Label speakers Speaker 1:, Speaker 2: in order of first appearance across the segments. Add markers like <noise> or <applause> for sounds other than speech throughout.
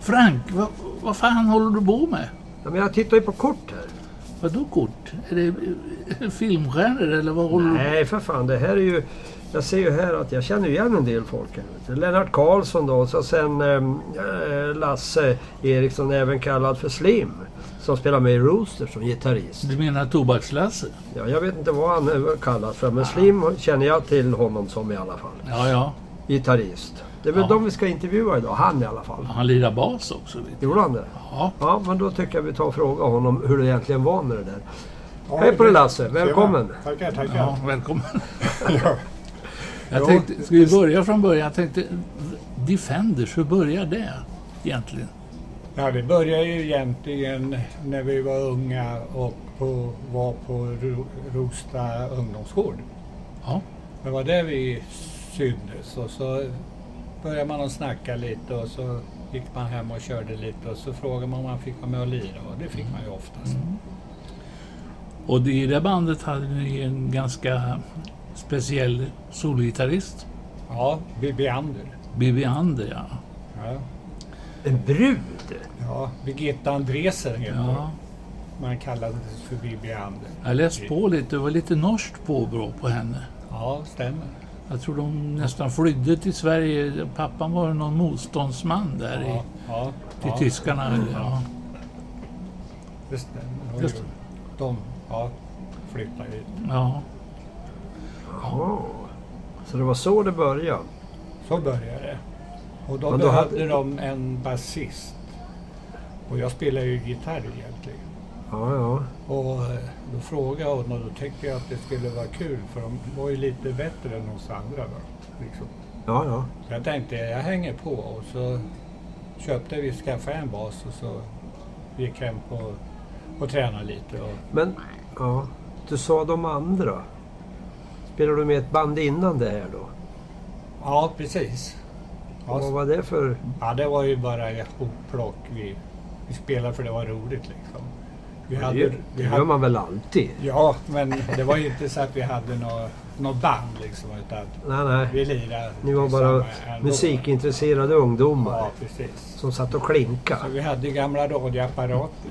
Speaker 1: Frank, vad, vad fan håller du på med?
Speaker 2: Ja, men jag tittar ju på kort här.
Speaker 1: Vadå kort? Är det eh, filmstjärnor eller vad håller du
Speaker 2: Nej, för fan. Det här är ju... Jag ser ju här att jag känner igen en del folk. Här. vet du. Lennart Karlsson då, och så sen ehm, eh, Lasse Eriksson, även kallad för Slim. Som spelar med i Rooster som gitarrist.
Speaker 1: Du menar Tobakslasse?
Speaker 2: Ja, jag vet inte vad han är kallad för, men Slim känner jag till honom som i alla fall.
Speaker 1: Ja, ja.
Speaker 2: Gitarrist. Det är väl
Speaker 1: Ja.
Speaker 2: de vi ska intervjua idag, han i alla fall.
Speaker 1: Han lirar bas också. Vet du.
Speaker 2: Gjorde han det?
Speaker 1: Ja.
Speaker 2: Ja, men då tycker jag vi tar och frågar honom hur det egentligen var med det där. Hej på dig Lasse, välkommen!
Speaker 3: Tjena. Tackar, tackar.
Speaker 1: ja, välkommen.
Speaker 3: <laughs> Ja.
Speaker 1: Jag
Speaker 3: Ja.
Speaker 1: tänkte, ska vi börja från början? Jag tänkte, Defenders, hur börjar det egentligen?
Speaker 3: Ja, det började ju egentligen när vi var unga och på, var på Ro- Rosta ungdomsgård.
Speaker 1: Ja,
Speaker 3: Det var där vi syntes och så började man att snacka lite och så gick man hem och körde lite och så frågade man om man fick vara med och lira och det fick man ju oftast.
Speaker 2: Mm.
Speaker 1: och det- i det bandet hade ni en ganska speciell solgitarrist.
Speaker 3: Ja, Bibi Ander.
Speaker 1: Bibi Ander, ja.
Speaker 3: Ja.
Speaker 2: En brud!
Speaker 3: ja, Birgitta Andresen heter
Speaker 1: ja.
Speaker 3: hon. Man kallades för Bibi Ander.
Speaker 1: Jag läste på lite, det var lite norskt påbrå på henne.
Speaker 3: Ja, stämmer.
Speaker 1: Jag tror de nästan flydde till Sverige. Pappan var någon motståndsman där i,
Speaker 3: Ja, ja,
Speaker 1: till
Speaker 3: ja. Mm.
Speaker 1: tyskarna. eller, Ja.
Speaker 3: Det stämmer.
Speaker 1: Just det.
Speaker 3: De ja, flyttade hit.
Speaker 1: Ja.
Speaker 2: Jaha. Så det var så det började.
Speaker 3: Så började det. Och då
Speaker 2: Men då
Speaker 3: behövde
Speaker 2: hade-
Speaker 3: de en basist. Och jag spelar ju gitarr egentligen.
Speaker 2: Ja, ja.
Speaker 3: Och eh, då frågade jag honom och då tänkte jag att det skulle vara kul för de var ju lite bättre än oss andra. Va? Liksom.
Speaker 2: Ja, ja.
Speaker 3: Så jag tänkte jag hänger på och så köpte vi, skaffade en bas och så gick hem på, och tränade lite. Och,
Speaker 2: Men, ja. Du sa de andra. Spelade du med ett band innan det här då?
Speaker 3: ja, precis. Ja,
Speaker 2: Vad var det för...
Speaker 3: Ja, det var ju bara hopplock. Vi, vi spelade för det var roligt liksom. Vi hade,
Speaker 2: Det,
Speaker 3: vi
Speaker 2: det
Speaker 3: hade,
Speaker 2: gör man väl alltid?
Speaker 3: Ja, men det var ju inte så att vi hade något nå band liksom. Utan
Speaker 2: Nej, nej.
Speaker 3: vi lirade
Speaker 2: Ni var bara
Speaker 3: tillsammans ändå.
Speaker 2: musikintresserade ungdomar
Speaker 3: Ja, precis.
Speaker 2: som satt och klinka.
Speaker 3: Så vi hade ju gamla radioapparater.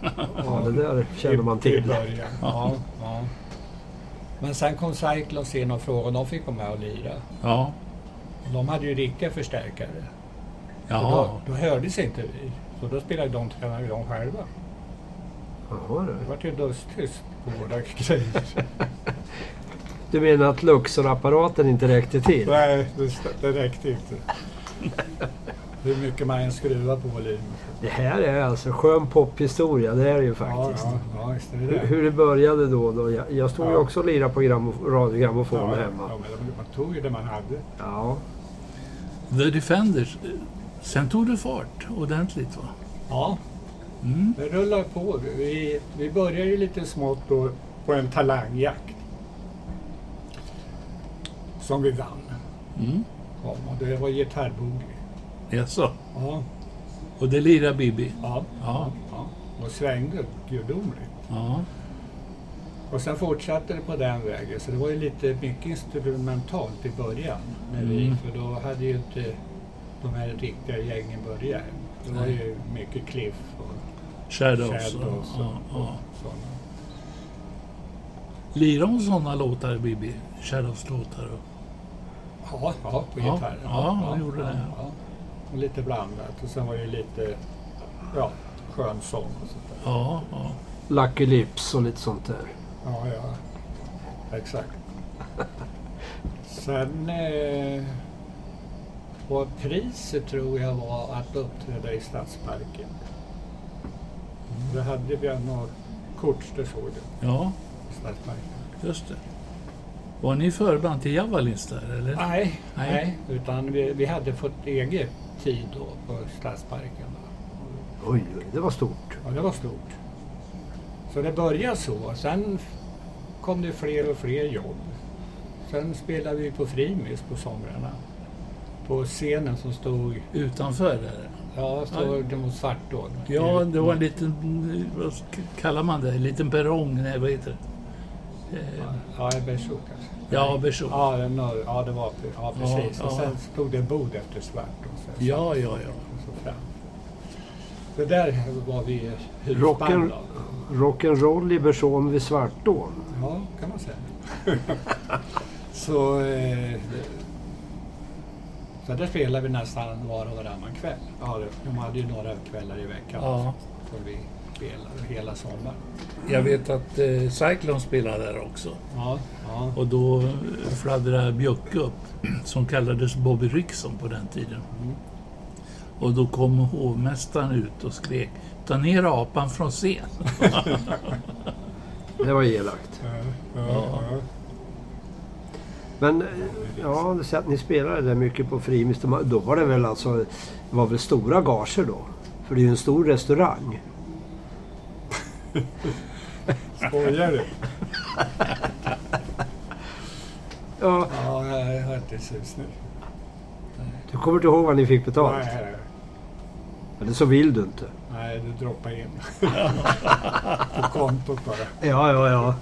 Speaker 2: Ja, det där känner man
Speaker 3: I, i
Speaker 2: till.
Speaker 3: början. Ja, ja. Men sen kom Cyclones in och frågade om de fick vara med och lira.
Speaker 1: Ja.
Speaker 3: Och De hade ju riktiga förstärkare. Så
Speaker 1: Jaha.
Speaker 3: Då, då hördes inte vi. Så då spelade de, tränade de själva.
Speaker 2: Jaha, du.
Speaker 3: Det vart ju dödstyst på våra grejer.
Speaker 2: Du menar att Luxor-apparaten inte räckte till?
Speaker 3: Nej, det, st- det räckte inte. Hur mycket man än skruvar på volymen.
Speaker 2: Det här är alltså skön pophistoria, det är det ju
Speaker 3: Ja,
Speaker 2: faktiskt.
Speaker 3: ja, ja, visst är det
Speaker 2: Hur-
Speaker 3: det.
Speaker 2: Hur det började då. då. Jag, jag stod ju
Speaker 3: Ja.
Speaker 2: också och lirade på grammo- radiogrammofon
Speaker 3: ja,
Speaker 2: hemma.
Speaker 3: Ja, men man tog ju det man hade.
Speaker 2: Ja.
Speaker 1: The Defenders. eh, Sen tog det fart ordentligt va?
Speaker 3: Ja,
Speaker 1: Mm.
Speaker 3: det rullar på. Vi, vi börjar ju lite smått då på en talangjakt. Som vi vann.
Speaker 1: Mm.
Speaker 3: Ja, och det var gitarrboogie.
Speaker 1: Jaså?
Speaker 3: Ja,
Speaker 1: Och det lirar Bibi?
Speaker 3: ja,
Speaker 1: Ja.
Speaker 3: ja. Och svängde gudomligt.
Speaker 1: Ja.
Speaker 3: Och sen fortsatte det på den vägen. Så det var ju lite mycket instrumentalt i början. När vi,
Speaker 1: Mm.
Speaker 3: För då hade ju inte de här riktiga gängen börjat. Det var
Speaker 1: Nej.
Speaker 3: ju mycket Cliff och
Speaker 1: Shadows.
Speaker 3: Shadows och,
Speaker 1: Ja, ja.
Speaker 3: och sådana.
Speaker 1: Lirar hon sådana låtar Bibi? Shadows-låtar? och-
Speaker 3: Ja, ja på
Speaker 1: Ja,
Speaker 3: gitarr.
Speaker 1: ja, han gjorde det.
Speaker 3: ja. Och lite blandat. Och sen var det ju lite ja, skön sång och sånt där.
Speaker 1: Ja, ja.
Speaker 2: Lucky Lips och lite sånt där.
Speaker 3: Ja, ja. Exakt. Sen eh, var priset tror jag var att uppträda i Stadsparken. Det hade vi något kort, det såg du.
Speaker 1: Ja,
Speaker 3: i Stadsparken.
Speaker 1: just det. Var ni förband till Javalins där eller?
Speaker 3: Nej,
Speaker 1: Nej.
Speaker 3: nej. utan vi, vi hade fått eget tid då på Stadsparken. Då.
Speaker 2: Oj, oj, det var stort.
Speaker 3: Ja, det var stort. Så det började så. Sen f- kom det fler och fler jobb. Sen spelade vi på Frimis på somrarna. På scenen som stod,
Speaker 1: Utanför där.
Speaker 3: ja, stod mot Svartån.
Speaker 1: Ja, det var en liten, vad kallar man det? En liten perrong, nej vad heter det? Eh,
Speaker 3: Ja, en bersuk kanske.
Speaker 1: Ja, berså.
Speaker 3: Ja, den, ja, det var, ja precis.
Speaker 1: Ja,
Speaker 3: och
Speaker 1: ja.
Speaker 3: sen stod det en bod efter Svartån. Sen satt
Speaker 1: Ja, ja, ja.
Speaker 3: vi så fram. Så där var vi
Speaker 2: Rocken-
Speaker 3: husband av.
Speaker 2: Rock'n'roll i Bersån vid Svartån.
Speaker 3: Ja, kan
Speaker 1: <laughs>
Speaker 3: man säga. så, eh, så där spelade vi nästan var och varannan kväll. Ja, det- de hade ju några kvällar i veckan
Speaker 1: ja.
Speaker 3: som vi spelade hela sommaren.
Speaker 1: Jag vet att eh, Cyclone spelade där också.
Speaker 3: Ja, ja.
Speaker 1: Och då eh, fladdrade Bjöcke upp, som kallades Bobby Rickson på den tiden.
Speaker 3: Mm.
Speaker 1: Och då kom hovmästaren ut och skrek Ta ner apan från scen.
Speaker 2: Det var elakt.
Speaker 1: ja.
Speaker 2: Men eh, ja, du säger att ni spelade där mycket på Frimis. De- Då var det väl alltså, det var väl stora gager då? För det är ju en stor restaurang.
Speaker 3: Skojar du?
Speaker 2: Ja,
Speaker 3: <laughs> Ja, jag har inte sus nu.
Speaker 2: du kommer inte ihåg vad ni fick betalt?
Speaker 3: Nej,
Speaker 2: Eller så vill du inte.
Speaker 3: nej, du droppar in. På kontot bara.
Speaker 2: Ja, ja, ja.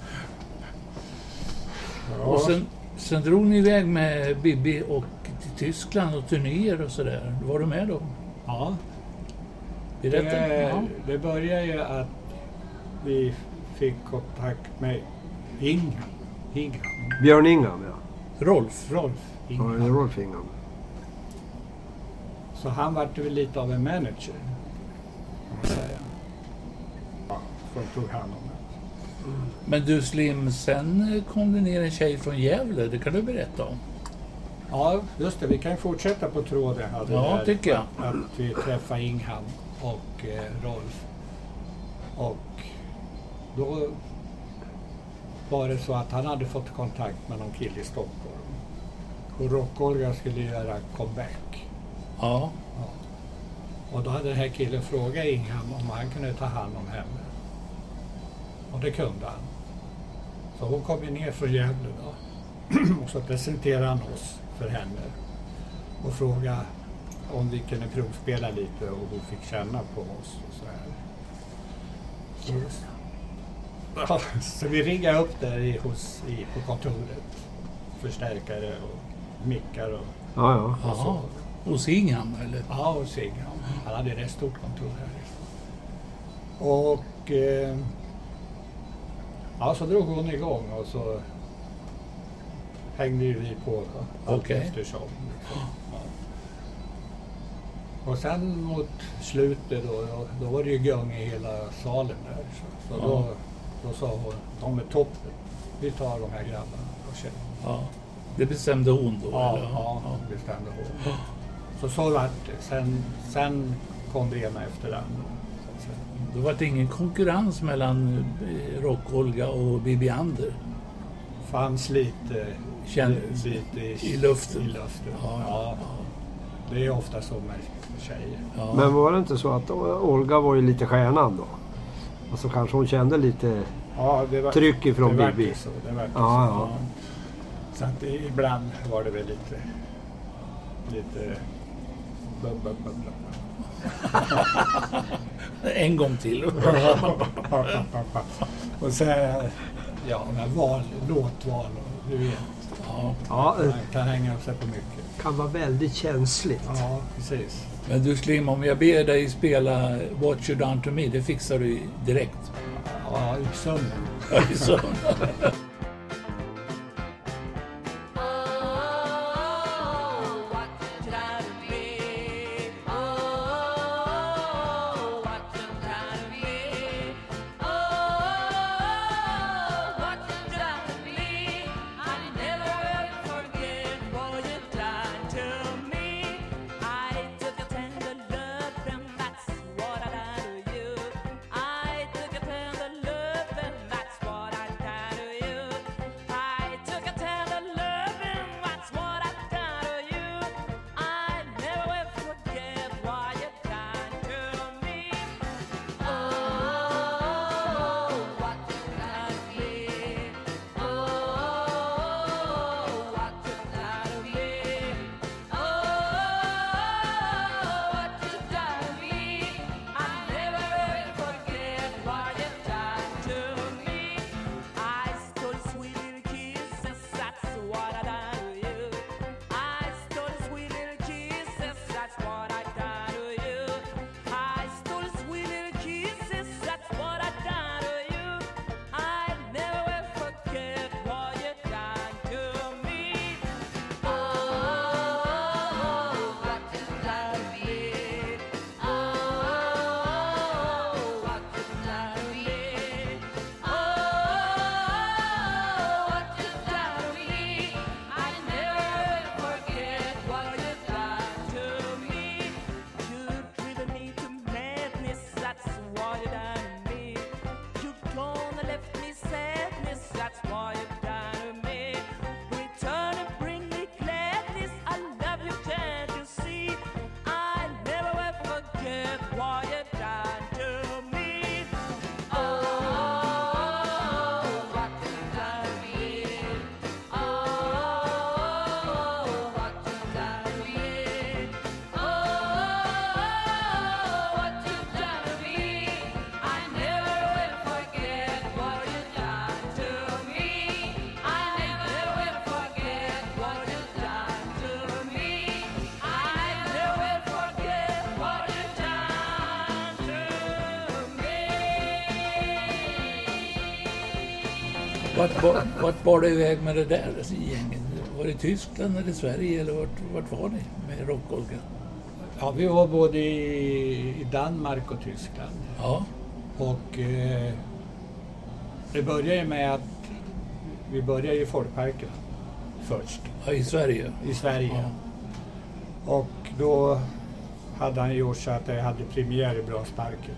Speaker 3: Ja.
Speaker 1: Och sen, sen drog ni iväg med Bibi och till Tyskland och turnéer och sådär. Var du med då?
Speaker 3: ja.
Speaker 1: Berätta.
Speaker 3: Det,
Speaker 1: Ja.
Speaker 3: det började ju att vi fick kontakt med Ingham. Ingham.
Speaker 2: Björn Ingham ja.
Speaker 1: Rolf.
Speaker 3: Rolf
Speaker 2: Ja, det är
Speaker 3: Ingham.
Speaker 2: Rolf Ingham.
Speaker 3: Så han vart ju lite av en manager. Kan man säga. Ja, som tog hand om det.
Speaker 1: Men du Slim, sen eh, kom det ner en tjej från Gävle. Det kan du berätta om.
Speaker 3: Ja, just det. Vi kan ju fortsätta på tråden jag hade
Speaker 1: Ja,
Speaker 3: där.
Speaker 1: tycker jag.
Speaker 3: att vi träffade Ingham och eh, Rolf. Och då var det så att han hade fått kontakt med någon kille i Stockholm. Och Rockolga skulle göra comeback.
Speaker 1: Ja.
Speaker 3: Och då hade den här killen frågat Ingham om han kunde ta hand om henne. Och det kunde han. Så hon kom ju ner från Gävle då. <clears throat> och så presenterade han oss för henne. Och frågade om vi kunde provspela lite och hon fick känna på oss och så här. Så, ja, så vi riggade upp där i, hos, i, på kontoret. Förstärkare och mickar och
Speaker 2: Ja, ja.
Speaker 1: Jaha. Hos Ingham eller?
Speaker 3: Ja, och Sig. Han hade rätt stort kontor här. Och... Eh, ja, så drog hon igång och så hängde ju vi på då, allt
Speaker 1: Okej.
Speaker 3: eftersom. Liksom. Ja. Och sen mot slutet då, då, då var det ju gung i hela salen där. Så, så
Speaker 1: Ja.
Speaker 3: då, då sa hon, de är toppen. Vi tar de här grabbarna och känner.
Speaker 1: Ja. Det bestämde hon då?
Speaker 3: Ja,
Speaker 1: eller?
Speaker 3: ja, det bestämde hon. Så så vart det. Sen, sen kom det ena efter det andra. så att säga.
Speaker 1: Då var det ingen konkurrens mellan eh, Rock-Olga och Bibi Ander.
Speaker 3: fanns lite,
Speaker 1: Kändes
Speaker 3: lite
Speaker 1: i luften.
Speaker 3: I luften.
Speaker 1: Ja,
Speaker 3: Ja,
Speaker 1: ja,
Speaker 3: Det är ofta så med tjejer.
Speaker 1: Ja.
Speaker 2: Men var det inte så att O- Olga var ju lite stjärnan då? Och så kanske hon kände lite...
Speaker 3: Ja, det var,
Speaker 2: Tryck ifrån
Speaker 3: det vart
Speaker 2: Bibi.
Speaker 3: ju Så, det vart ju
Speaker 2: Ja, ja.
Speaker 3: så. Så att det, ibland var det väl lite... lite bub, bub, bub, bub.
Speaker 1: En gång till.
Speaker 3: <laughs> och sen, ja, men val, låtval och du vet.
Speaker 1: Ja.
Speaker 2: Ja, eh,
Speaker 3: Man kan hänga upp sig på mycket.
Speaker 2: kan vara väldigt känsligt.
Speaker 3: Ja, precis.
Speaker 1: Men du Slim, om jag ber dig spela What You Done To Me, det fixar du direkt.
Speaker 3: Ja, i sömnen.
Speaker 1: Så.
Speaker 4: Oh, what you done to me? Oh, what you done to me? Oh, what you done to me? I never forget what you done to me. I took a tender look, and that's what I done to you. I took a tender look, and that's what I done to you. Oh,
Speaker 5: Oh, Oh, Oh, Oh,
Speaker 1: Vart, bar- vart bar det iväg med det där gänget? Var det Tyskland eller Sverige eller vart, vart var ni med Rock-Olga?
Speaker 3: Ja, vi var både i i Danmark och Tyskland.
Speaker 1: Ja,
Speaker 3: Och eh, det började ju med att vi började i folkparken först
Speaker 1: ja, i Sverige.
Speaker 3: i Sverige.
Speaker 1: Ja.
Speaker 3: Och då hade han gjort så att det hade premiär i Brunnsparken.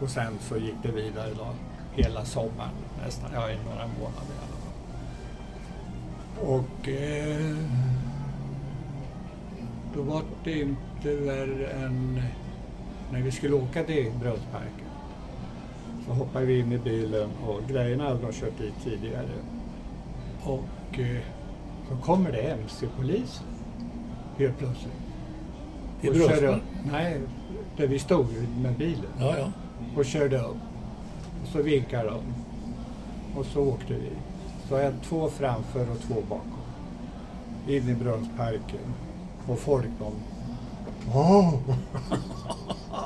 Speaker 3: Och sen så gick det vidare då hela sommaren nästan, ja i några månader i alla fall. Och eh, då var det inte värre än när vi skulle åka till Brunnsparken. Så hoppade vi in i bilen och grejerna hade de kört dit tidigare. Och eh, så kommer det MC-polis helt plötsligt.
Speaker 1: I
Speaker 3: Och körde
Speaker 1: Brunnsberg.
Speaker 3: upp- Nej, där vi stod med bilen.
Speaker 1: Ja, ja.
Speaker 3: Och körde upp. Och så vinkade de. Och så åkte vi. Så en, två framför och två bakom. In i Brunnsparken. Och folk de... Åh! <laughs>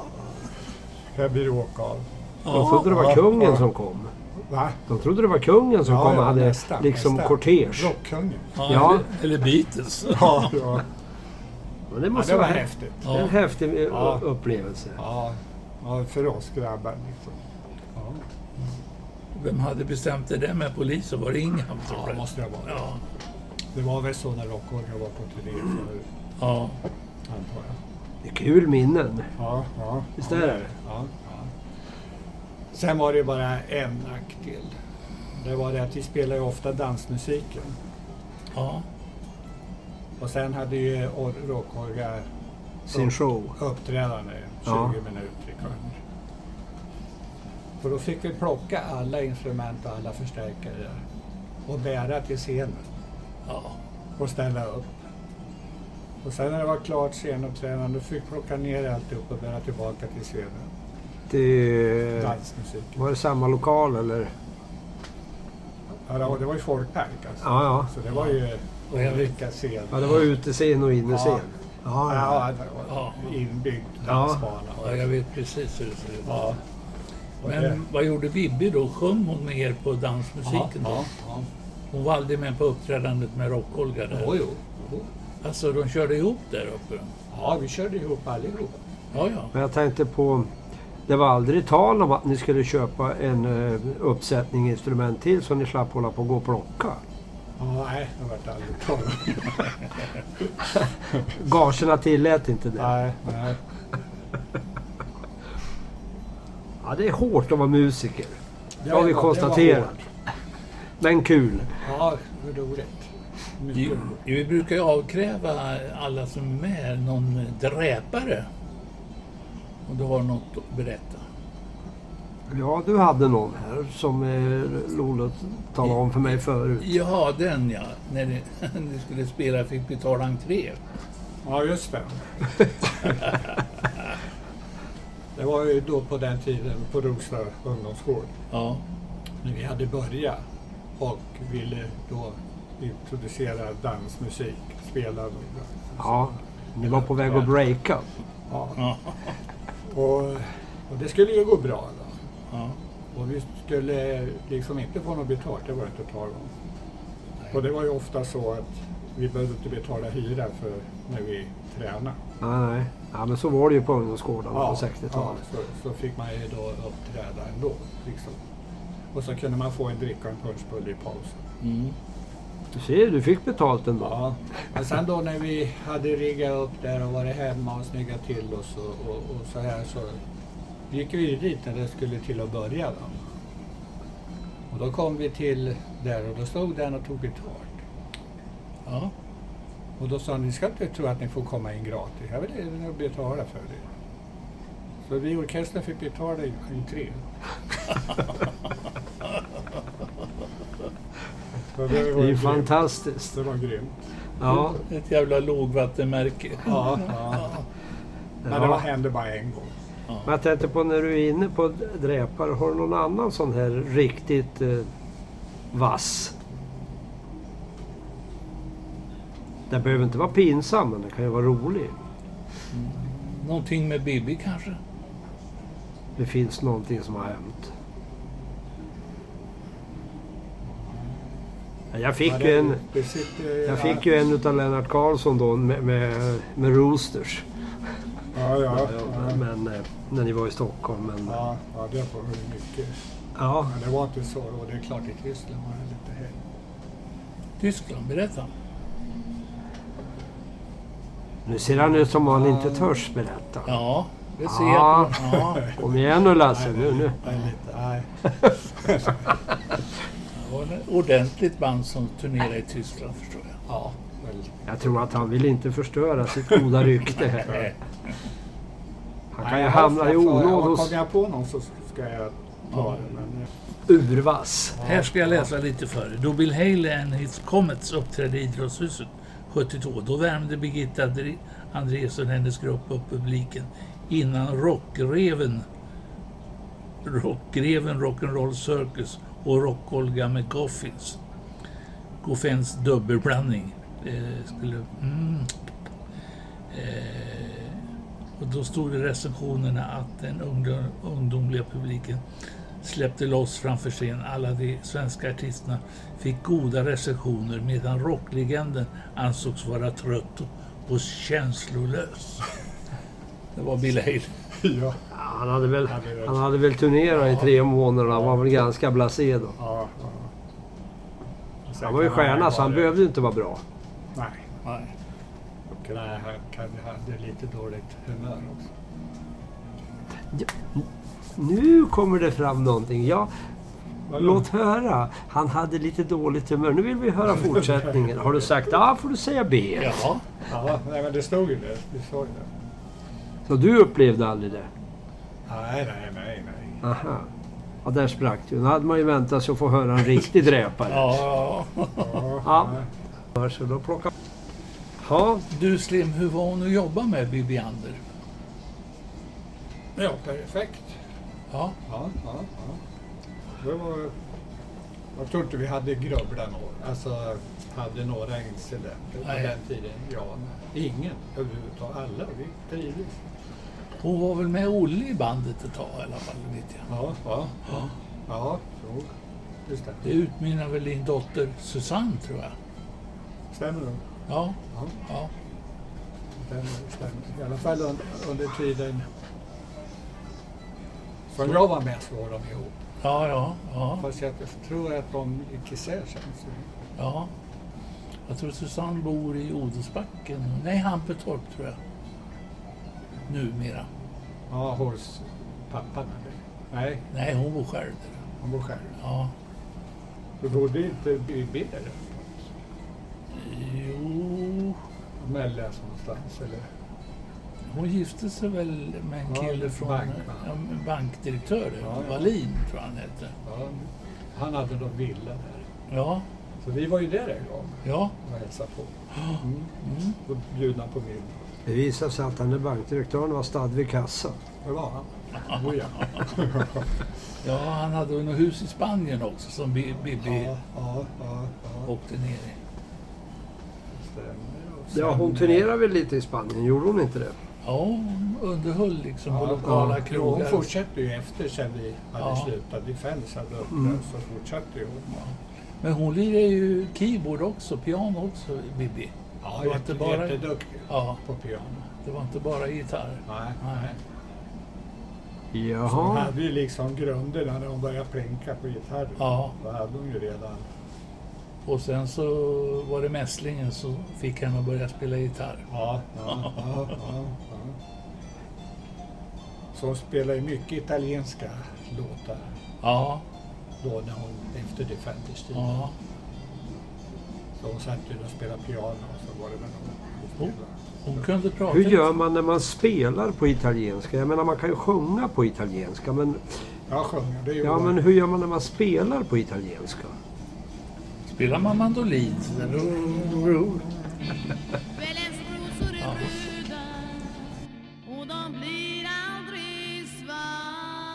Speaker 3: Här blir det åka av.
Speaker 2: De trodde det var
Speaker 3: Ja,
Speaker 2: kungen
Speaker 3: ja.
Speaker 2: som kom.
Speaker 3: Va?
Speaker 2: De trodde det var kungen som kom och hade
Speaker 3: nästan,
Speaker 2: liksom
Speaker 3: nästan.
Speaker 2: kortege.
Speaker 3: Rockkungen.
Speaker 1: ja,
Speaker 2: Ja.
Speaker 1: Eller, eller Beatles.
Speaker 3: Ja, ja.
Speaker 2: Men det
Speaker 3: ja,
Speaker 2: måste
Speaker 3: det var
Speaker 2: vara
Speaker 3: häftigt.
Speaker 1: Ja.
Speaker 2: en häftig eh,
Speaker 3: Ja.
Speaker 2: upplevelse.
Speaker 3: Ja, ja för oss grabbar liksom. Ja,
Speaker 1: Vem hade bestämt det där med polisen? Var det Ingham? tror
Speaker 3: ja
Speaker 1: jag?
Speaker 3: det måste det vara.
Speaker 1: Ja.
Speaker 3: Det var väl så när Rockholm var på turné förut,
Speaker 1: ja.
Speaker 3: antar jag.
Speaker 2: Det är kul minnen.
Speaker 3: Ja, ja,
Speaker 2: Visst är det?
Speaker 3: ja, ja. Sen var det bara en nackdel. Det var det att vi spelade ju ofta dansmusiken.
Speaker 1: ja.
Speaker 3: Och sen hade ju Or- Rockhorga
Speaker 2: Sin show.
Speaker 3: uppträdande 20
Speaker 2: Ja.
Speaker 3: minuter kanske. För då fick vi plocka alla instrument och alla förstärkare och bära till scenen.
Speaker 1: ja.
Speaker 3: och ställa upp. Och sen när det var klart scenuppträdande fick jag plocka ner alltihop och bära tillbaka till scenen.
Speaker 2: Det,
Speaker 3: Dansmusiken.
Speaker 2: var det samma lokal eller?
Speaker 3: Ja, det var- det var ju folkpark alltså.
Speaker 2: Ja, ja.
Speaker 3: Så det var ju
Speaker 1: Och jag vet-
Speaker 3: olika scener.
Speaker 2: Ja, det var utescen och innescen.
Speaker 3: Ja.
Speaker 2: Ja, ja.
Speaker 3: Ja, det var
Speaker 1: Ja.
Speaker 3: inbyggd
Speaker 2: Ja.
Speaker 3: dansbana.
Speaker 1: ja, jag vet precis hur det ser ut.
Speaker 3: Ja. Och det-
Speaker 1: Men vad gjorde Bibi då? Sjöng hon med er på dansmusiken då?
Speaker 3: ja, ja.
Speaker 1: Hon var aldrig med på uppträdandet med Rock-Olga där?
Speaker 3: Jo, jo. jo.
Speaker 1: Alltså, de körde ihop där uppe?
Speaker 3: Ja, vi körde ihop allihop.
Speaker 1: Ja, ja.
Speaker 2: Men jag tänkte på... Det var aldrig tal om att ni skulle köpa en eh, uppsättning instrument till så ni slapp hålla på och gå och plocka.
Speaker 3: Ja, nej, det vart aldrig tal om.
Speaker 2: Gagerna tillät inte det.
Speaker 3: Nej, nej.
Speaker 2: Ja, det är hårt att vara musiker.
Speaker 3: Det
Speaker 2: har vi
Speaker 3: var- Det
Speaker 2: konstaterat.
Speaker 3: var hårt.
Speaker 2: Men kul.
Speaker 3: ja, det var roligt. Mycket
Speaker 1: Vi,
Speaker 3: roligt.
Speaker 1: vi brukar ju avkräva alla som är med någon dräpare. Och du har något att berätta.
Speaker 2: Ja, du hade någon här som eh, Lolo talade om för mig förut.
Speaker 1: Ja, den ja. När ni, <laughs> ni skulle spela fick betala entré.
Speaker 3: Ja, just det. det var ju då på den tiden på Rosa ungdomsgård
Speaker 1: Ja,
Speaker 3: när vi hade börjat och ville då introducera dansmusik, spela och
Speaker 2: Ja, ni var på väg att breaka.
Speaker 3: ja.
Speaker 1: ja,
Speaker 3: och, och det skulle ju gå bra. Då.
Speaker 1: ja.
Speaker 3: Och vi skulle liksom inte få något betalt, det var det inte tal om. Och det var ju ofta så att vi behövde inte betala hyra för när vi tränade.
Speaker 2: Nej, nej. Ja, men så var det ju på ungdomsgårdarna på 60-talet.
Speaker 3: Ja, så, så fick man ju då uppträda ändå. Liksom. Och så kunde man få en dricka och en punschbulle i pausen.
Speaker 1: Mm.
Speaker 2: Du ser, du fick betalt ändå.
Speaker 3: Ja. Men sen då när vi hade riggat upp där och varit hemma och snyggat till oss och, och, och så här så gick vi ju dit när det skulle till att börja. Då. Och då kom vi till där och då stod den och tog betalt.
Speaker 1: ja.
Speaker 3: Och då sa han, ni ska inte tro att ni får komma in gratis. Jag vill gärna betala för det. Så vi i orkestern fick betala i entré. Så
Speaker 2: <laughs>
Speaker 3: det
Speaker 2: Det är ju
Speaker 3: grymt.
Speaker 2: fantastiskt.
Speaker 3: Det var grymt.
Speaker 2: Ja,
Speaker 1: Ett jävla lågvattenmärke.
Speaker 3: Ja, ja. Men det var,
Speaker 2: ja.
Speaker 3: hände bara en gång.
Speaker 2: Men jag tänkte på när du är inne på dräpare. Har du någon annan sån här riktigt eh, vass? Den behöver inte vara pinsam, men den kan ju vara rolig.
Speaker 1: Någonting med Bibi kanske?
Speaker 2: Det finns någonting som har hänt. Jag fick
Speaker 3: Ja,
Speaker 2: ju
Speaker 3: det-
Speaker 2: en,
Speaker 3: det sitter ju-
Speaker 2: jag fick ju en utav Lennart Karlsson då med, med, med Roosters.
Speaker 3: Ja, ja. ja.
Speaker 2: Men, eh, när ni var i Stockholm. Men, ja.
Speaker 3: Ja, ja, det var ju mycket. Men det var inte så då. Det är klart, i Tyskland var det lite hej.
Speaker 1: Tyskland, berätta.
Speaker 2: Nu ser han ut som om han inte törs berätta.
Speaker 1: Ja, det ser
Speaker 2: Ja.
Speaker 1: jag. på- Ja,
Speaker 2: Kom igen nu Lasse, nu, nu.
Speaker 3: Nej, nej.
Speaker 1: det var ett ordentligt band som turnerade i Tyskland förstår jag.
Speaker 3: Ja, väl.
Speaker 2: Jag tror att han vill inte förstöra sitt goda rykte här. Han kan ju hamna i onåd hos
Speaker 3: Kommer jag på någon så ska jag ta det. Men, eh,
Speaker 2: urvass.
Speaker 1: Här ska jag läsa lite för er. Då Bill Haley and his Comets uppträdde i Idrottshuset 72, då värmde Birgitta Andri- Andreasson och hennes grupp upp publiken innan rockgreven rockgreven Rock'n'Roll Circus och Rock-Olga med Goffins. Goffins dubbelblandning. Eh, skulle, mm. eh, och då stod det i recensionerna att den ungdom, ungdomliga publiken släppte loss framför scen. Alla de svenska artisterna fick goda recensioner medan rocklegenden ansågs vara trött och känslolös. <laughs> Det var Bill Haley.
Speaker 3: eh, <laughs> ja,
Speaker 2: Ja, Han hade väl, han hade väl turnerat i tre månader. Han var väl ganska blasé då.
Speaker 3: ja, ja.
Speaker 2: Han var ju stjärna så han behövde ju inte vara bra.
Speaker 3: Nej,
Speaker 1: Nej.
Speaker 3: och nej, han kan- hade lite dåligt humör också.
Speaker 2: Nu kommer det fram någonting. Ja,
Speaker 3: Vadå?
Speaker 2: låt höra. Han hade lite dåligt humör. Nu vill vi höra fortsättningen. Har du sagt A får du säga B.
Speaker 1: Jaha.
Speaker 3: Ja, nej, men det stod ju det. Vi såg det.
Speaker 2: Så du upplevde aldrig det?
Speaker 3: Nej, nej, nej, nej.
Speaker 2: Aha. Ja, där sprack du. Nu hade man ju väntat sig att få höra en riktig dräpare.
Speaker 1: Ja.
Speaker 3: Ja,
Speaker 2: Ja.
Speaker 3: nej.
Speaker 2: Så då plockar... Ja,
Speaker 1: <laughs> Du Slim, hur var hon att jobba med Bibi Ander?
Speaker 3: ja perfekt.
Speaker 1: Ja.
Speaker 3: Ja, ja, ja. Det var, jag tror inte vi hade grubblat några, alltså hade några incidenter på
Speaker 1: Nej.
Speaker 3: den tiden. Ja, ingen överhuvudtaget. Alla, vi trivdes.
Speaker 1: Hon var väl med Olle i bandet ett tag i alla fall, vet jag.
Speaker 3: Ja, ja, ja. Ja, jo. Just det.
Speaker 1: Det utmynnar väl i en dotter, Susanne, tror jag.
Speaker 3: Stämmer nog.
Speaker 1: Ja.
Speaker 3: Ja,
Speaker 1: ja.
Speaker 3: stämmer, stämmer. I alla fall un, under tiden som jag var med så var de ihop.
Speaker 1: Ja, ja, ja,
Speaker 3: Fast jag tror att de gick isär sen. så-
Speaker 1: ja. Jag tror Susanne bor i Odensbacken. Nej, Hampetorp tror jag. Numera.
Speaker 3: Ja, hos pappan. eller? Nej,
Speaker 1: Nej, hon bor själv där.
Speaker 3: han bor själv.
Speaker 1: Ja.
Speaker 3: Du bodde inte i Birr?
Speaker 1: Jo,
Speaker 3: Mellas någonstans eller?
Speaker 1: hon gifte sig väl med en
Speaker 3: Ja,
Speaker 1: kille från
Speaker 3: bank, va?
Speaker 1: ja, en bankdirektör,
Speaker 3: Ja, ja.
Speaker 1: Wallin tror jag han hette.
Speaker 3: Ja, han hade någon villa där.
Speaker 1: Ja,
Speaker 3: Så vi var ju där en gång
Speaker 1: ja.
Speaker 3: och hälsade på.
Speaker 1: Mm.
Speaker 3: Och bjudna på middag.
Speaker 2: det visade sig att den där bankdirektören var stadd vid kassan.
Speaker 3: Det var han. Oh, ja.
Speaker 1: Ja, han hade ju något hus i Spanien också som Bi- Bibi
Speaker 3: ja, ja, ja, ja.
Speaker 1: åkte ner i.
Speaker 3: Stämmer. Och
Speaker 2: Ja,
Speaker 3: sen,
Speaker 2: hon turnerade väl lite i Spanien, gjorde hon inte det?
Speaker 1: Ja, hon underhöll liksom på
Speaker 3: Ja,
Speaker 1: lokala
Speaker 2: ja.
Speaker 3: Jo, Hon
Speaker 1: krogar.
Speaker 3: fortsatte ju efter sen vi hade
Speaker 1: Ja. Mm.
Speaker 3: slutat. Vi fans hade upplöst så fortsatte ju hon.
Speaker 1: Men hon lirade ju keyboard också, piano också, Bibi.
Speaker 3: Ja,
Speaker 1: Det var inte
Speaker 3: jätte,
Speaker 1: bara-
Speaker 3: jätteduktig
Speaker 1: Ja,
Speaker 3: på piano.
Speaker 1: det var inte bara gitarr.
Speaker 3: Nej,
Speaker 1: Nej.
Speaker 3: nej. Hon
Speaker 2: Jaha.
Speaker 3: hade ju liksom grunderna när hon började plinka på gitarren.
Speaker 1: Ja,
Speaker 3: Då hade hon ju redan
Speaker 1: och sen så var det mässlingen som fick henne att börja spela gitarr.
Speaker 3: Ja, ja, ja, ja, ja. Så hon spelar ju mycket italienska låtar
Speaker 1: Ja,
Speaker 3: då när hon efter Defenders-tiden.
Speaker 1: ja.
Speaker 3: Så hon satt ju och spelade piano och så var det väl någon
Speaker 1: Hon, hon kunde prata.
Speaker 2: Hur gör man när man spelar på italienska? Jag menar man kan ju sjunga på italienska men,
Speaker 3: Ja, sjunger. Det gjorde
Speaker 2: ja,
Speaker 3: hon.
Speaker 2: men hur gör man när man spelar på italienska?
Speaker 1: Spelar man mandolin?
Speaker 4: Kvällens rosor är röda och de blir aldrig svarta.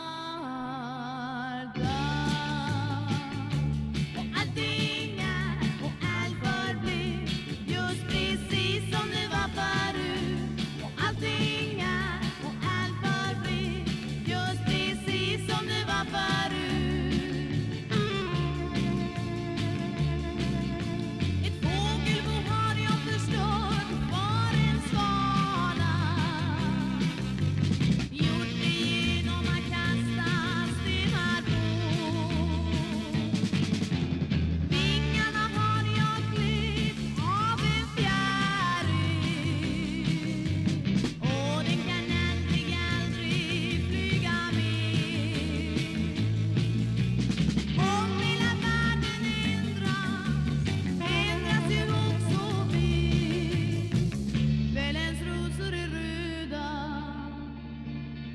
Speaker 4: Och allting är och allt förblir just precis som det var förut. Och allting är och allt förblir just precis som det var förut.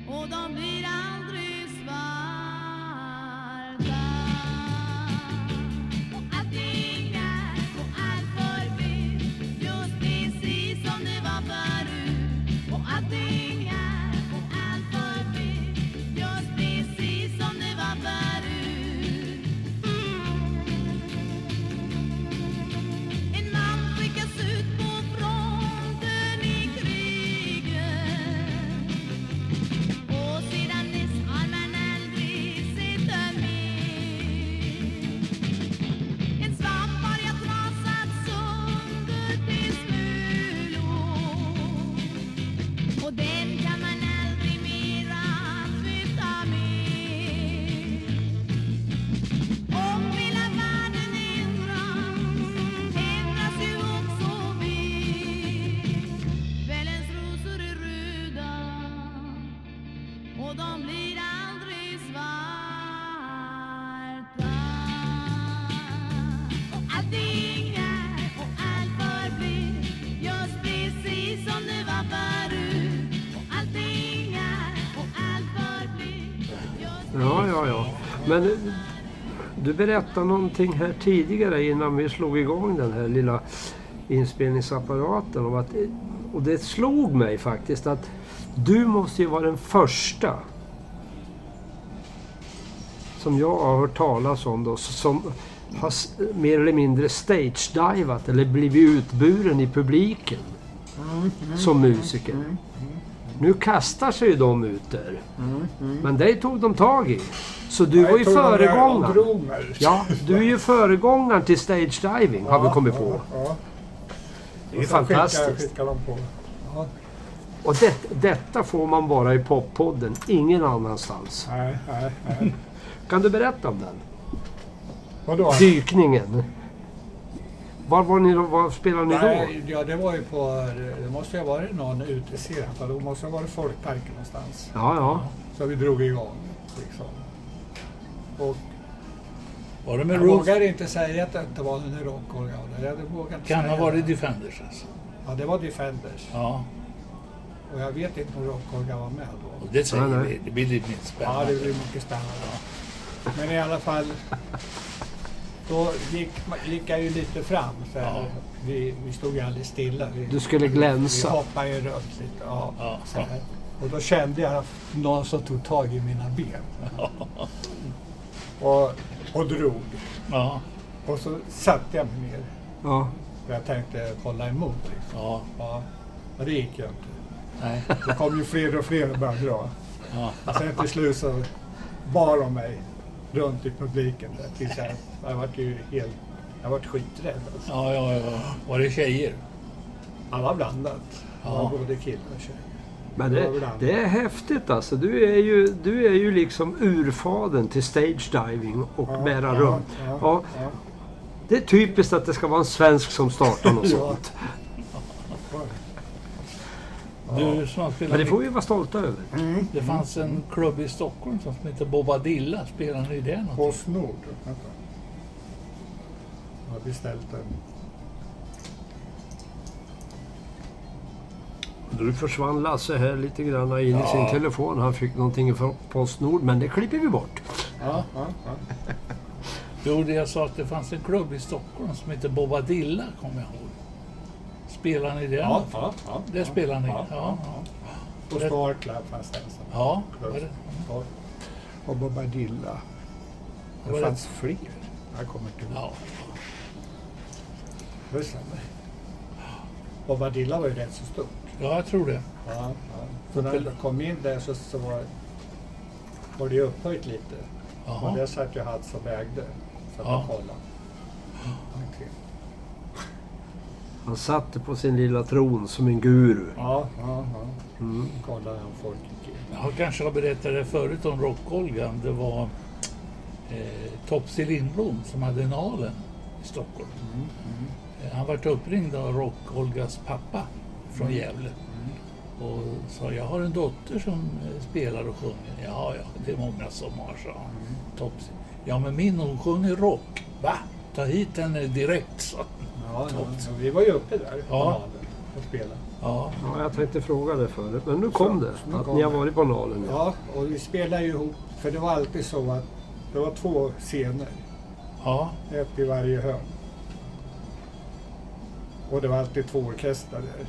Speaker 5: och de blir aldrig svarta. Och allting är och allt förblir just precis som det var förut. Och allting är och allt förblir just precis som det var förut. En man skickas ut på fronten i kriget och sedan dess har man aldrig sett en mer. En svamp har jag trasat sönder till smulor och den kan man aldrig mera tvätta med. Om hela världen ändras, ändras ju också vi. Kvällens rosor är röda och de blir aldrig svarta. Och allting är och allt förblir just precis som det var förut. Och allting är och allt förblir just
Speaker 2: Ja, ja, ja. Men eh, du berättade någonting här tidigare innan vi slog igång den här lilla inspelningsapparaten. Om att, och det slog mig faktiskt att du måste ju vara den första som jag har hört talas om då, som har s- mer eller mindre stage-divat eller blivit utburen i publiken som musiker. Nu kastar sig ju de ut där.
Speaker 3: Mm,
Speaker 2: Men dig tog de tag i. Så du var ju
Speaker 3: Och
Speaker 2: föregångaren.
Speaker 3: drog mig ut.
Speaker 2: Ja, du är ju föregångaren till stage diving har vi kommit på.
Speaker 3: Ja.
Speaker 2: Det är ju
Speaker 3: Och sen skickade-
Speaker 2: fantastiskt.
Speaker 3: skickade de på. Ja,
Speaker 2: Och det, detta får man bara i poppodden, ingen annanstans.
Speaker 3: nej, nej, nej.
Speaker 2: Kan du berätta om den? <laughs>
Speaker 3: Vadå?
Speaker 2: Dykningen. Var, var ni, då- var spelade ni då?
Speaker 3: Nej, ja, det var ju på, det måste ju ha varit någon utescen, för det måste ha varit folkparken någonstans.
Speaker 2: Ja, ja.
Speaker 3: Så vi drog igång liksom. Och
Speaker 1: Var det med
Speaker 3: jag
Speaker 1: Rose?
Speaker 3: vågar inte säga att det inte var en rockorgan. Jag vågar inte
Speaker 1: Kan ha
Speaker 3: säga
Speaker 1: varit
Speaker 3: det.
Speaker 1: Defenders alltså.
Speaker 3: Ja, det var Defenders.
Speaker 1: Ja,
Speaker 3: Och jag vet inte om rockorgan var med då.
Speaker 1: och det säger
Speaker 2: Nej, nej.
Speaker 1: vi. Det blir lite mer
Speaker 3: Ja,
Speaker 1: spännande.
Speaker 3: det blir mycket spännande. Men i alla fall, då gick, gick jag ju lite fram. För
Speaker 1: Ja.
Speaker 3: vi, vi stod ju alldeles stilla. Vi,
Speaker 2: Du skulle
Speaker 3: Vi
Speaker 2: glänsa.
Speaker 3: hoppade ju runt lite. Ja,
Speaker 1: Ja.
Speaker 3: så här. Och då kände jag att någon som tog tag i mina ben. Och, och drog.
Speaker 1: Ja,
Speaker 3: Och så satte jag mig ner.
Speaker 2: Ja.
Speaker 3: För jag tänkte kolla emot. Liksom.
Speaker 1: ja,
Speaker 3: Ja. Och det gick ju inte.
Speaker 1: nej.
Speaker 3: Det kom ju fler och fler och började dra.
Speaker 1: Ja.
Speaker 3: Och sen till slut så bar de mig runt i publiken. Där, tills jag, jag var ju helt... Jag var skiträdd. Alltså.
Speaker 1: Ja, ja, ja. Var det tjejer?
Speaker 3: Han var blandat. Han
Speaker 1: Ja.
Speaker 3: var både kille och tjej.
Speaker 2: Men det, det är häftigt alltså. Du är ju, du är ju liksom urfaden till stage diving och
Speaker 3: Ja,
Speaker 2: bära
Speaker 3: ja,
Speaker 2: runt.
Speaker 3: ja,
Speaker 2: Ja,
Speaker 3: ja.
Speaker 2: det är typiskt att det ska vara en svensk som startar något
Speaker 3: <laughs> Ja.
Speaker 2: sånt.
Speaker 1: Du som spelar
Speaker 2: Men det får vi vara stolta över.
Speaker 3: Mm.
Speaker 1: Det fanns en klubb i Stockholm som hette Bobadilla. Spelade ni där något?
Speaker 3: Postnord. Vänta. Jag har beställt en.
Speaker 2: Nu försvann Lasse här lite grann in i sin telefon. Han fick någonting från Postnord, men det klipper vi bort.
Speaker 3: Ja, ja, ja.
Speaker 1: Jo, det jag sa att det fanns en klubb i Stockholm som hette Bobadilla, kommer jag ihåg. Spelade ni där?
Speaker 3: ja,
Speaker 1: något?
Speaker 3: ja, ja.
Speaker 1: Där spelar ni?
Speaker 3: Ja, ja, ja. Och Star Club fanns det en sån.
Speaker 1: Ja,
Speaker 3: Klubb.
Speaker 1: var det?
Speaker 3: Ja. Och Bobadilla.
Speaker 1: Var
Speaker 3: Det
Speaker 1: det-
Speaker 3: fanns fler. Jag kommer inte ihåg.
Speaker 1: ja.
Speaker 3: Det stämmer. Bobadilla var ju rätt så stort.
Speaker 1: ja jag tror det.
Speaker 3: Ja, ja. Så när jag kom in där så, så var, var det ju upphöjt lite. Och
Speaker 1: Jaha.
Speaker 3: där satt ju han som vägde. Så att
Speaker 1: Ja.
Speaker 3: jag kollade. Okej.
Speaker 2: Han satt på sin lilla tron som en guru.
Speaker 3: Ja, ja, ja.
Speaker 1: Mm.
Speaker 3: Kollade om folk gick in.
Speaker 1: Jag kanske har berättat det förut om Rock-Olgan. Det var eh, Topsy Lindblom som hade Nalen i Stockholm.
Speaker 2: Mm,
Speaker 1: Eh, Han vart uppringd av Rock-Olgas pappa från
Speaker 2: Mm.
Speaker 1: Gävle. Och sa, jag har en dotter som eh, spelar och sjunger. Ja, ja, det är många som har, sa han.
Speaker 2: Mm.
Speaker 1: Topsy. Ja, men min hon sjunger rock. Va? Ta hit henne direkt, sa han.
Speaker 3: Ja, ja,
Speaker 1: Topp.
Speaker 3: ja, vi var ju uppe där på
Speaker 1: Ja.
Speaker 3: naveln och spelade.
Speaker 1: Ja,
Speaker 2: Ja, jag tänkte fråga det förut, men nu kom
Speaker 3: Så, nu
Speaker 2: det. Att
Speaker 3: kom
Speaker 2: ni har
Speaker 3: det.
Speaker 2: varit på Nalen. Ja.
Speaker 3: Ja, och vi spelade ju ihop, för det var alltid så att det var två scener,
Speaker 1: ja,
Speaker 3: ett i varje hörn. Och det var alltid två orkestrar där.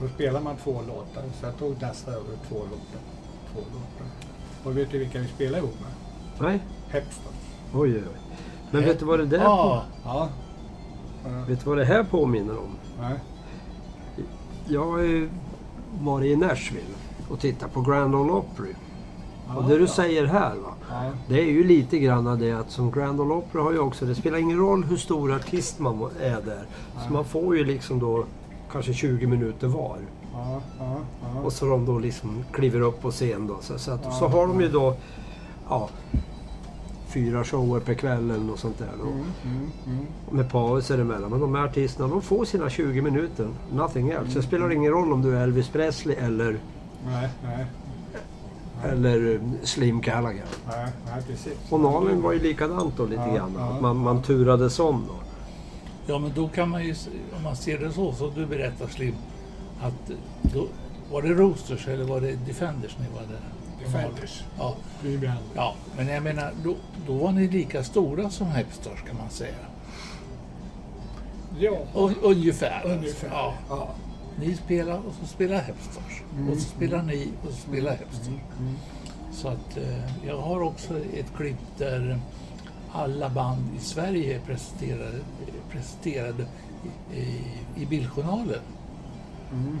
Speaker 3: Då spelade man två låtar, så jag tog nästa över två låtar. Två låtar. Och vet du vilka vi spelade ihop med?
Speaker 2: Nej,
Speaker 3: Hepston.
Speaker 2: oj, oj, oj. Men vet du vad det där
Speaker 1: ja,
Speaker 3: Ja. Ja.
Speaker 2: Vet du vad det här påminner om?
Speaker 3: Nej.
Speaker 2: Jag har ju varit i Nashville och tittat på Grand Ole Opry.
Speaker 3: Ja,
Speaker 2: och det du
Speaker 3: ja.
Speaker 2: säger här, va,
Speaker 3: Ja.
Speaker 2: det är ju lite grann av det att som Grand Ole Opry har ju också, det spelar ingen roll hur stor artist man må- är där. Så man får ju liksom då kanske 20 minuter var.
Speaker 3: Ja, ja, ja.
Speaker 2: Och så de då liksom kliver upp på scen då. Så, så, att,
Speaker 3: Ja.
Speaker 2: så har de ju då ja, fyra shower per kväll eller något sånt där då.
Speaker 3: Mm, mm, mm.
Speaker 2: Med pauser emellan. Men de här artisterna de får sina 20 minuter. Nothing else. Det spelar ingen roll om du är Elvis Presley eller,
Speaker 3: Mm. Nej, nej,
Speaker 2: eller eh, Slim Gallagher.
Speaker 3: nej, nej, precis.
Speaker 2: Och Nalen var ju likadant då lite
Speaker 3: Ja,
Speaker 2: grann.
Speaker 3: ja.
Speaker 2: Att man, man turades om då.
Speaker 1: ja, men då kan man ju, se- om man ser det så som du berättar Slim, att då, var det Roosters eller var det Defenders ni var där?
Speaker 3: Defenders.
Speaker 1: Ja,
Speaker 3: Vi brände.
Speaker 1: ja, men jag menar, då, då var ni lika stora som Hepstars kan man säga.
Speaker 3: Ja,
Speaker 1: Och, ungefär. alltså.
Speaker 3: ungefär.
Speaker 1: Ja.
Speaker 3: Ja. Mm.
Speaker 1: Ni spelar och så spelar Hepstars. Och så spelar ni och så spelar Hepstars. Så att eh, jag har också ett klipp där alla band i Sverige är presenterade, presenterade i, i, i bildjournalen.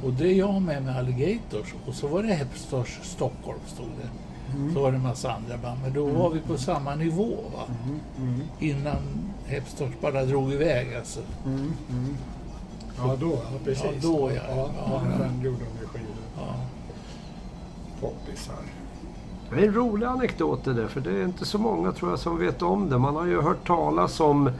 Speaker 1: Och det är jag med med Alligators och så var det Hepstars Stockholm stod det.
Speaker 2: Mm.
Speaker 1: Så var det en massa andra band, men då var vi på samma nivå va? innan Hepstars bara drog iväg. Alltså.
Speaker 3: ja, då, ja, precis.
Speaker 1: Ja, då, ja.
Speaker 3: ja,
Speaker 1: Ja, ja.
Speaker 3: Sen gjorde de skivor.
Speaker 1: Ja.
Speaker 3: Poppisar.
Speaker 2: Det är en rolig anekdot det där, för det är inte så många tror jag som vet om det. Man har ju hört talas om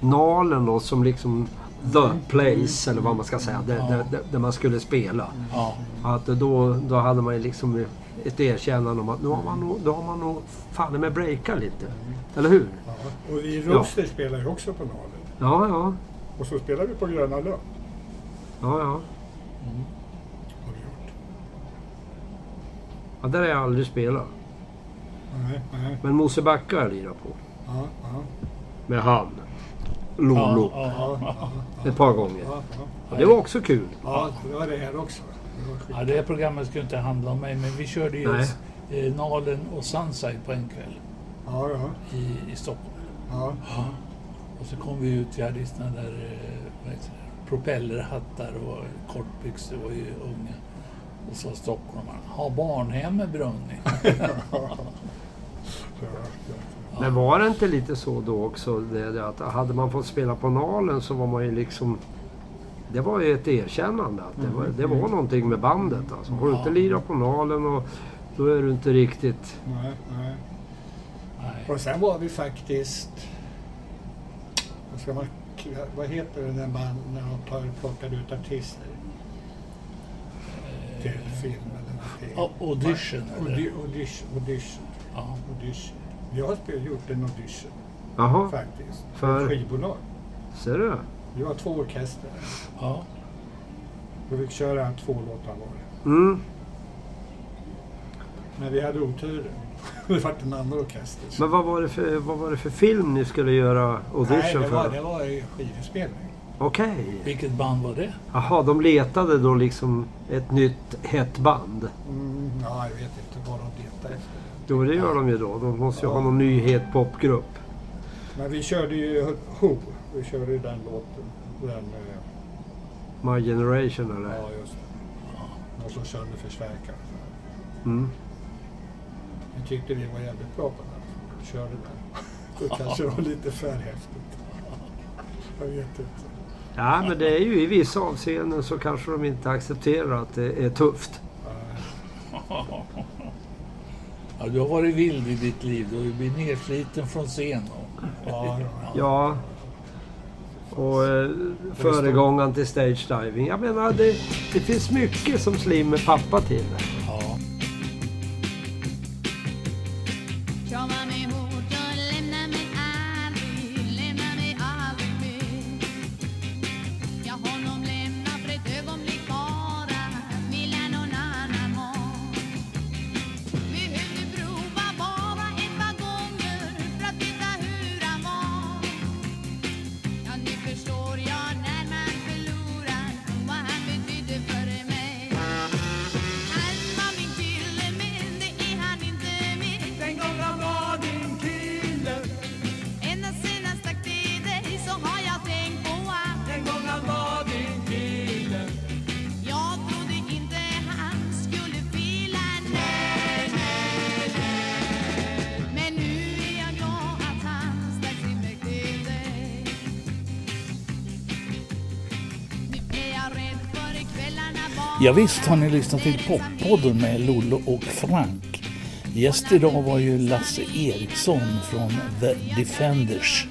Speaker 2: Nalen då, som liksom the place, eller vad man ska säga, där,
Speaker 1: Ja.
Speaker 2: där, där- där man skulle spela.
Speaker 1: Ja.
Speaker 2: Att då, då hade man ju liksom ett erkännande om att nu har man nog, då har man nog fan med breakat lite. Eller hur?
Speaker 3: Ja. Och vi Rooster spelar ju också på Nalen.
Speaker 2: Ja, ja.
Speaker 3: Och så spelar vi på Gröna Lund.
Speaker 2: ja, ja.
Speaker 3: Har vi gjort.
Speaker 2: ja där har jag aldrig spelat.
Speaker 3: Nej, nej.
Speaker 2: Men Mosebacka har jag lirat på.
Speaker 3: Ja, ja,
Speaker 2: Med han. Lolo.
Speaker 1: Ja, ja, ja.
Speaker 2: Ett par gånger.
Speaker 3: ja, ja.
Speaker 2: Och det var också kul.
Speaker 3: ja, det var det här också. Det var skit.
Speaker 1: Ja, det här programmet skulle inte handla om mig, men vi körde ju
Speaker 2: Nej.
Speaker 1: eh, Nalen och Sunside på en kväll
Speaker 3: Ja, ja,
Speaker 1: i, i Stockholm. <laughs>
Speaker 3: ja.
Speaker 1: Och så kom vi ut, vi hade ju såna där eh, vad heter det, propellerhattar och kortbyxor, var ju unga. Och så stockholmarna, har barnhemmet brunnit?
Speaker 3: Det var-
Speaker 2: Men var det inte lite så då också det, det att hade man fått spela på Nalen så var man ju liksom... Det var ju ett erkännande att
Speaker 3: Mm.
Speaker 2: det var, det var någonting med bandet alltså. Har du inte lirat på Nalen och då är du inte riktigt...
Speaker 3: Nej, nej.
Speaker 1: Nej.
Speaker 3: Och sen var vi faktiskt... Vad, ska man, vad heter det när man när de tar, plockar ut artister? Till film eller någonting.
Speaker 1: Eh, Ja, audition, eller?
Speaker 3: Audi, audition, audition,
Speaker 1: Ja.
Speaker 3: audition. Jag har spel, gjort en audition
Speaker 2: Jaha,
Speaker 3: faktiskt.
Speaker 2: För?
Speaker 3: Ett Skivbolag.
Speaker 2: ser du?
Speaker 3: Vi var två orkestrar.
Speaker 1: Ja.
Speaker 3: Vi fick köra två låtar var.
Speaker 2: Mm.
Speaker 3: Men vi hade oturen. <laughs> Det vart en annan orkester.
Speaker 2: Men vad var, det för, vad var det för film ni skulle göra
Speaker 3: nej,
Speaker 2: audition
Speaker 3: det var, det
Speaker 2: för?
Speaker 3: var ju skivinspelning.
Speaker 2: Okej.
Speaker 1: Vilket band var det?
Speaker 2: Jaha, de letade då liksom ett nytt hett band.
Speaker 3: Mm, ja, jag vet inte vad de letade efter.
Speaker 2: Jo, det gör de ju då. De måste ju ha någon ny het popgrupp.
Speaker 3: Men vi körde ju Ho. Vi körde ju den låten. Den, eh,
Speaker 2: My Generation eller?
Speaker 3: ja, just det. Någon som körde förstärkaren.
Speaker 2: Mm.
Speaker 3: Vi tyckte vi var jävligt bra på den. Vi körde den. Det kanske var lite för häftigt. Jag vet inte.
Speaker 2: Ja, men det är ju i vissa avseenden så kanske de inte accepterar att det är tufft.
Speaker 1: Ja, du har varit vild i ditt liv. Du har ju blivit nedsliten från scen. Och,
Speaker 3: Ja, ja.
Speaker 2: Ja. Och eh, föregångaren till stage diving. Jag menar, det, det finns mycket som Slim är pappa till.
Speaker 1: ja.
Speaker 5: Krama mig hårt och lämna mig aldrig, lämna mig aldrig mer Jag honom lämnar för ett ögonblick var
Speaker 1: Ja, visst har ni lyssnat till Poppodden med Lollo och Frank. Gäst idag var ju Lasse Eriksson från The Defenders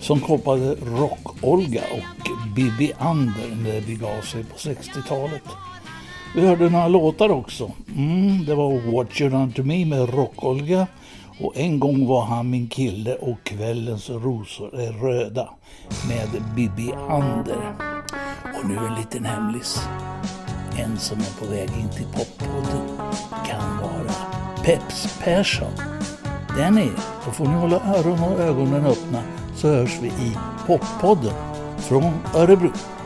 Speaker 1: som kopplade Rock-Olga och Bibi Ander när det begav sig på 60-talet. Vi hörde några låtar också. Mm, det var What You Done To Me med Rock-Olga och En gång var han min kille och Kvällens rosor är röda med Bibi Ander. Och nu en liten hemlis. En som är på väg in till poppodden kan vara Peps Persson. Den är, då får ni hålla öron och ögonen öppna så hörs vi i poppodden från Örebro.